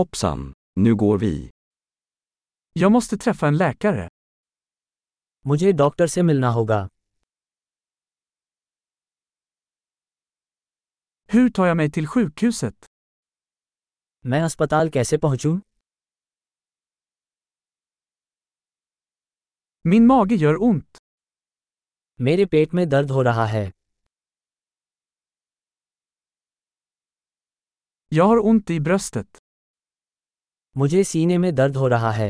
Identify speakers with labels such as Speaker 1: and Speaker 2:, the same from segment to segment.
Speaker 1: Hoppsan, nu går vi.
Speaker 2: Jag måste träffa en läkare.
Speaker 3: मुझे doctor से मिलना होगा
Speaker 2: Hur tar jag mig till sjukhuset?
Speaker 3: मैं अस्पताल कैसे पहुंचूं?
Speaker 2: Min mage gör ont.
Speaker 3: मेरे पेट में दर्द हो रहा है
Speaker 2: Jag har ont i bröstet.
Speaker 3: मुझे सीने में दर्द हो रहा है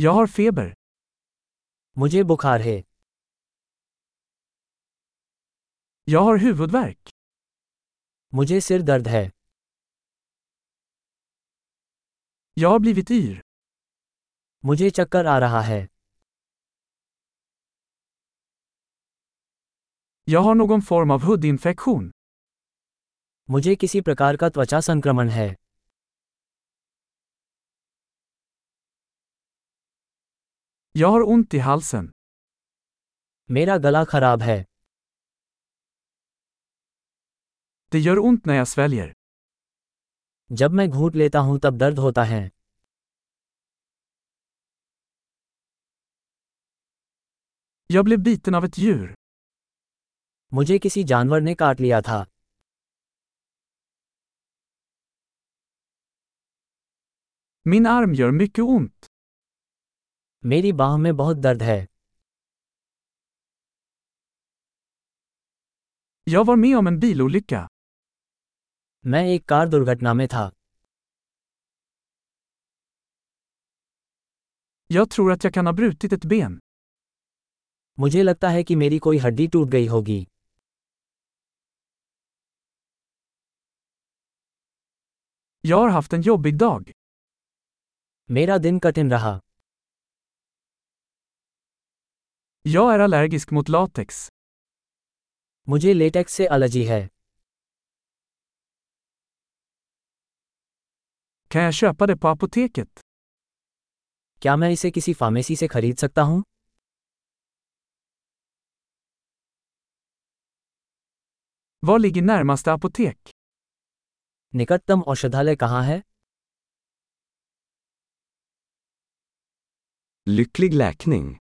Speaker 2: Jag har feber.
Speaker 3: मुझे बुखार है
Speaker 2: Jag har huvudvärk.
Speaker 3: मुझे सिर दर्द है
Speaker 2: Jag har blivit yr.
Speaker 3: मुझे चक्कर आ रहा है
Speaker 2: Jag har någon form av hudinfektion.
Speaker 3: मुझे किसी प्रकार का त्वचा संक्रमण है
Speaker 2: Jag har ont i halsen.
Speaker 3: मेरा गला खराब है
Speaker 2: Det gör ont när jag sväljer.
Speaker 3: जब मैं घूंट लेता हूं तब दर्द होता है
Speaker 2: Jag blev biten av ett djur.
Speaker 3: मुझे किसी जानवर ने काट लिया था
Speaker 2: Min arm gör mycket ont.
Speaker 3: मेरी बाह में बहुत दर्द है
Speaker 2: Jag var med om en bilolycka.
Speaker 3: मैं एक कार दुर्घटना में था
Speaker 2: Jag tror att jag kan ha brutit ett ben.
Speaker 3: मुझे लगता है कि मेरी कोई हड्डी टूट गई होगी
Speaker 2: Jag har haft en jobbig dag.
Speaker 3: मेरा दिन कठिन रहा
Speaker 2: Jag är allergisk mot latex.
Speaker 3: मुझे लेटेक्स से एलर्जी है
Speaker 2: Kan jag köpa det på apoteket?
Speaker 3: क्या मैं इसे किसी फार्मेसी से खरीद सकता हूँ
Speaker 2: Var ligger närmaste apotek?
Speaker 3: निकटतम औषधालय कहाँ है
Speaker 1: Lycklig läkning!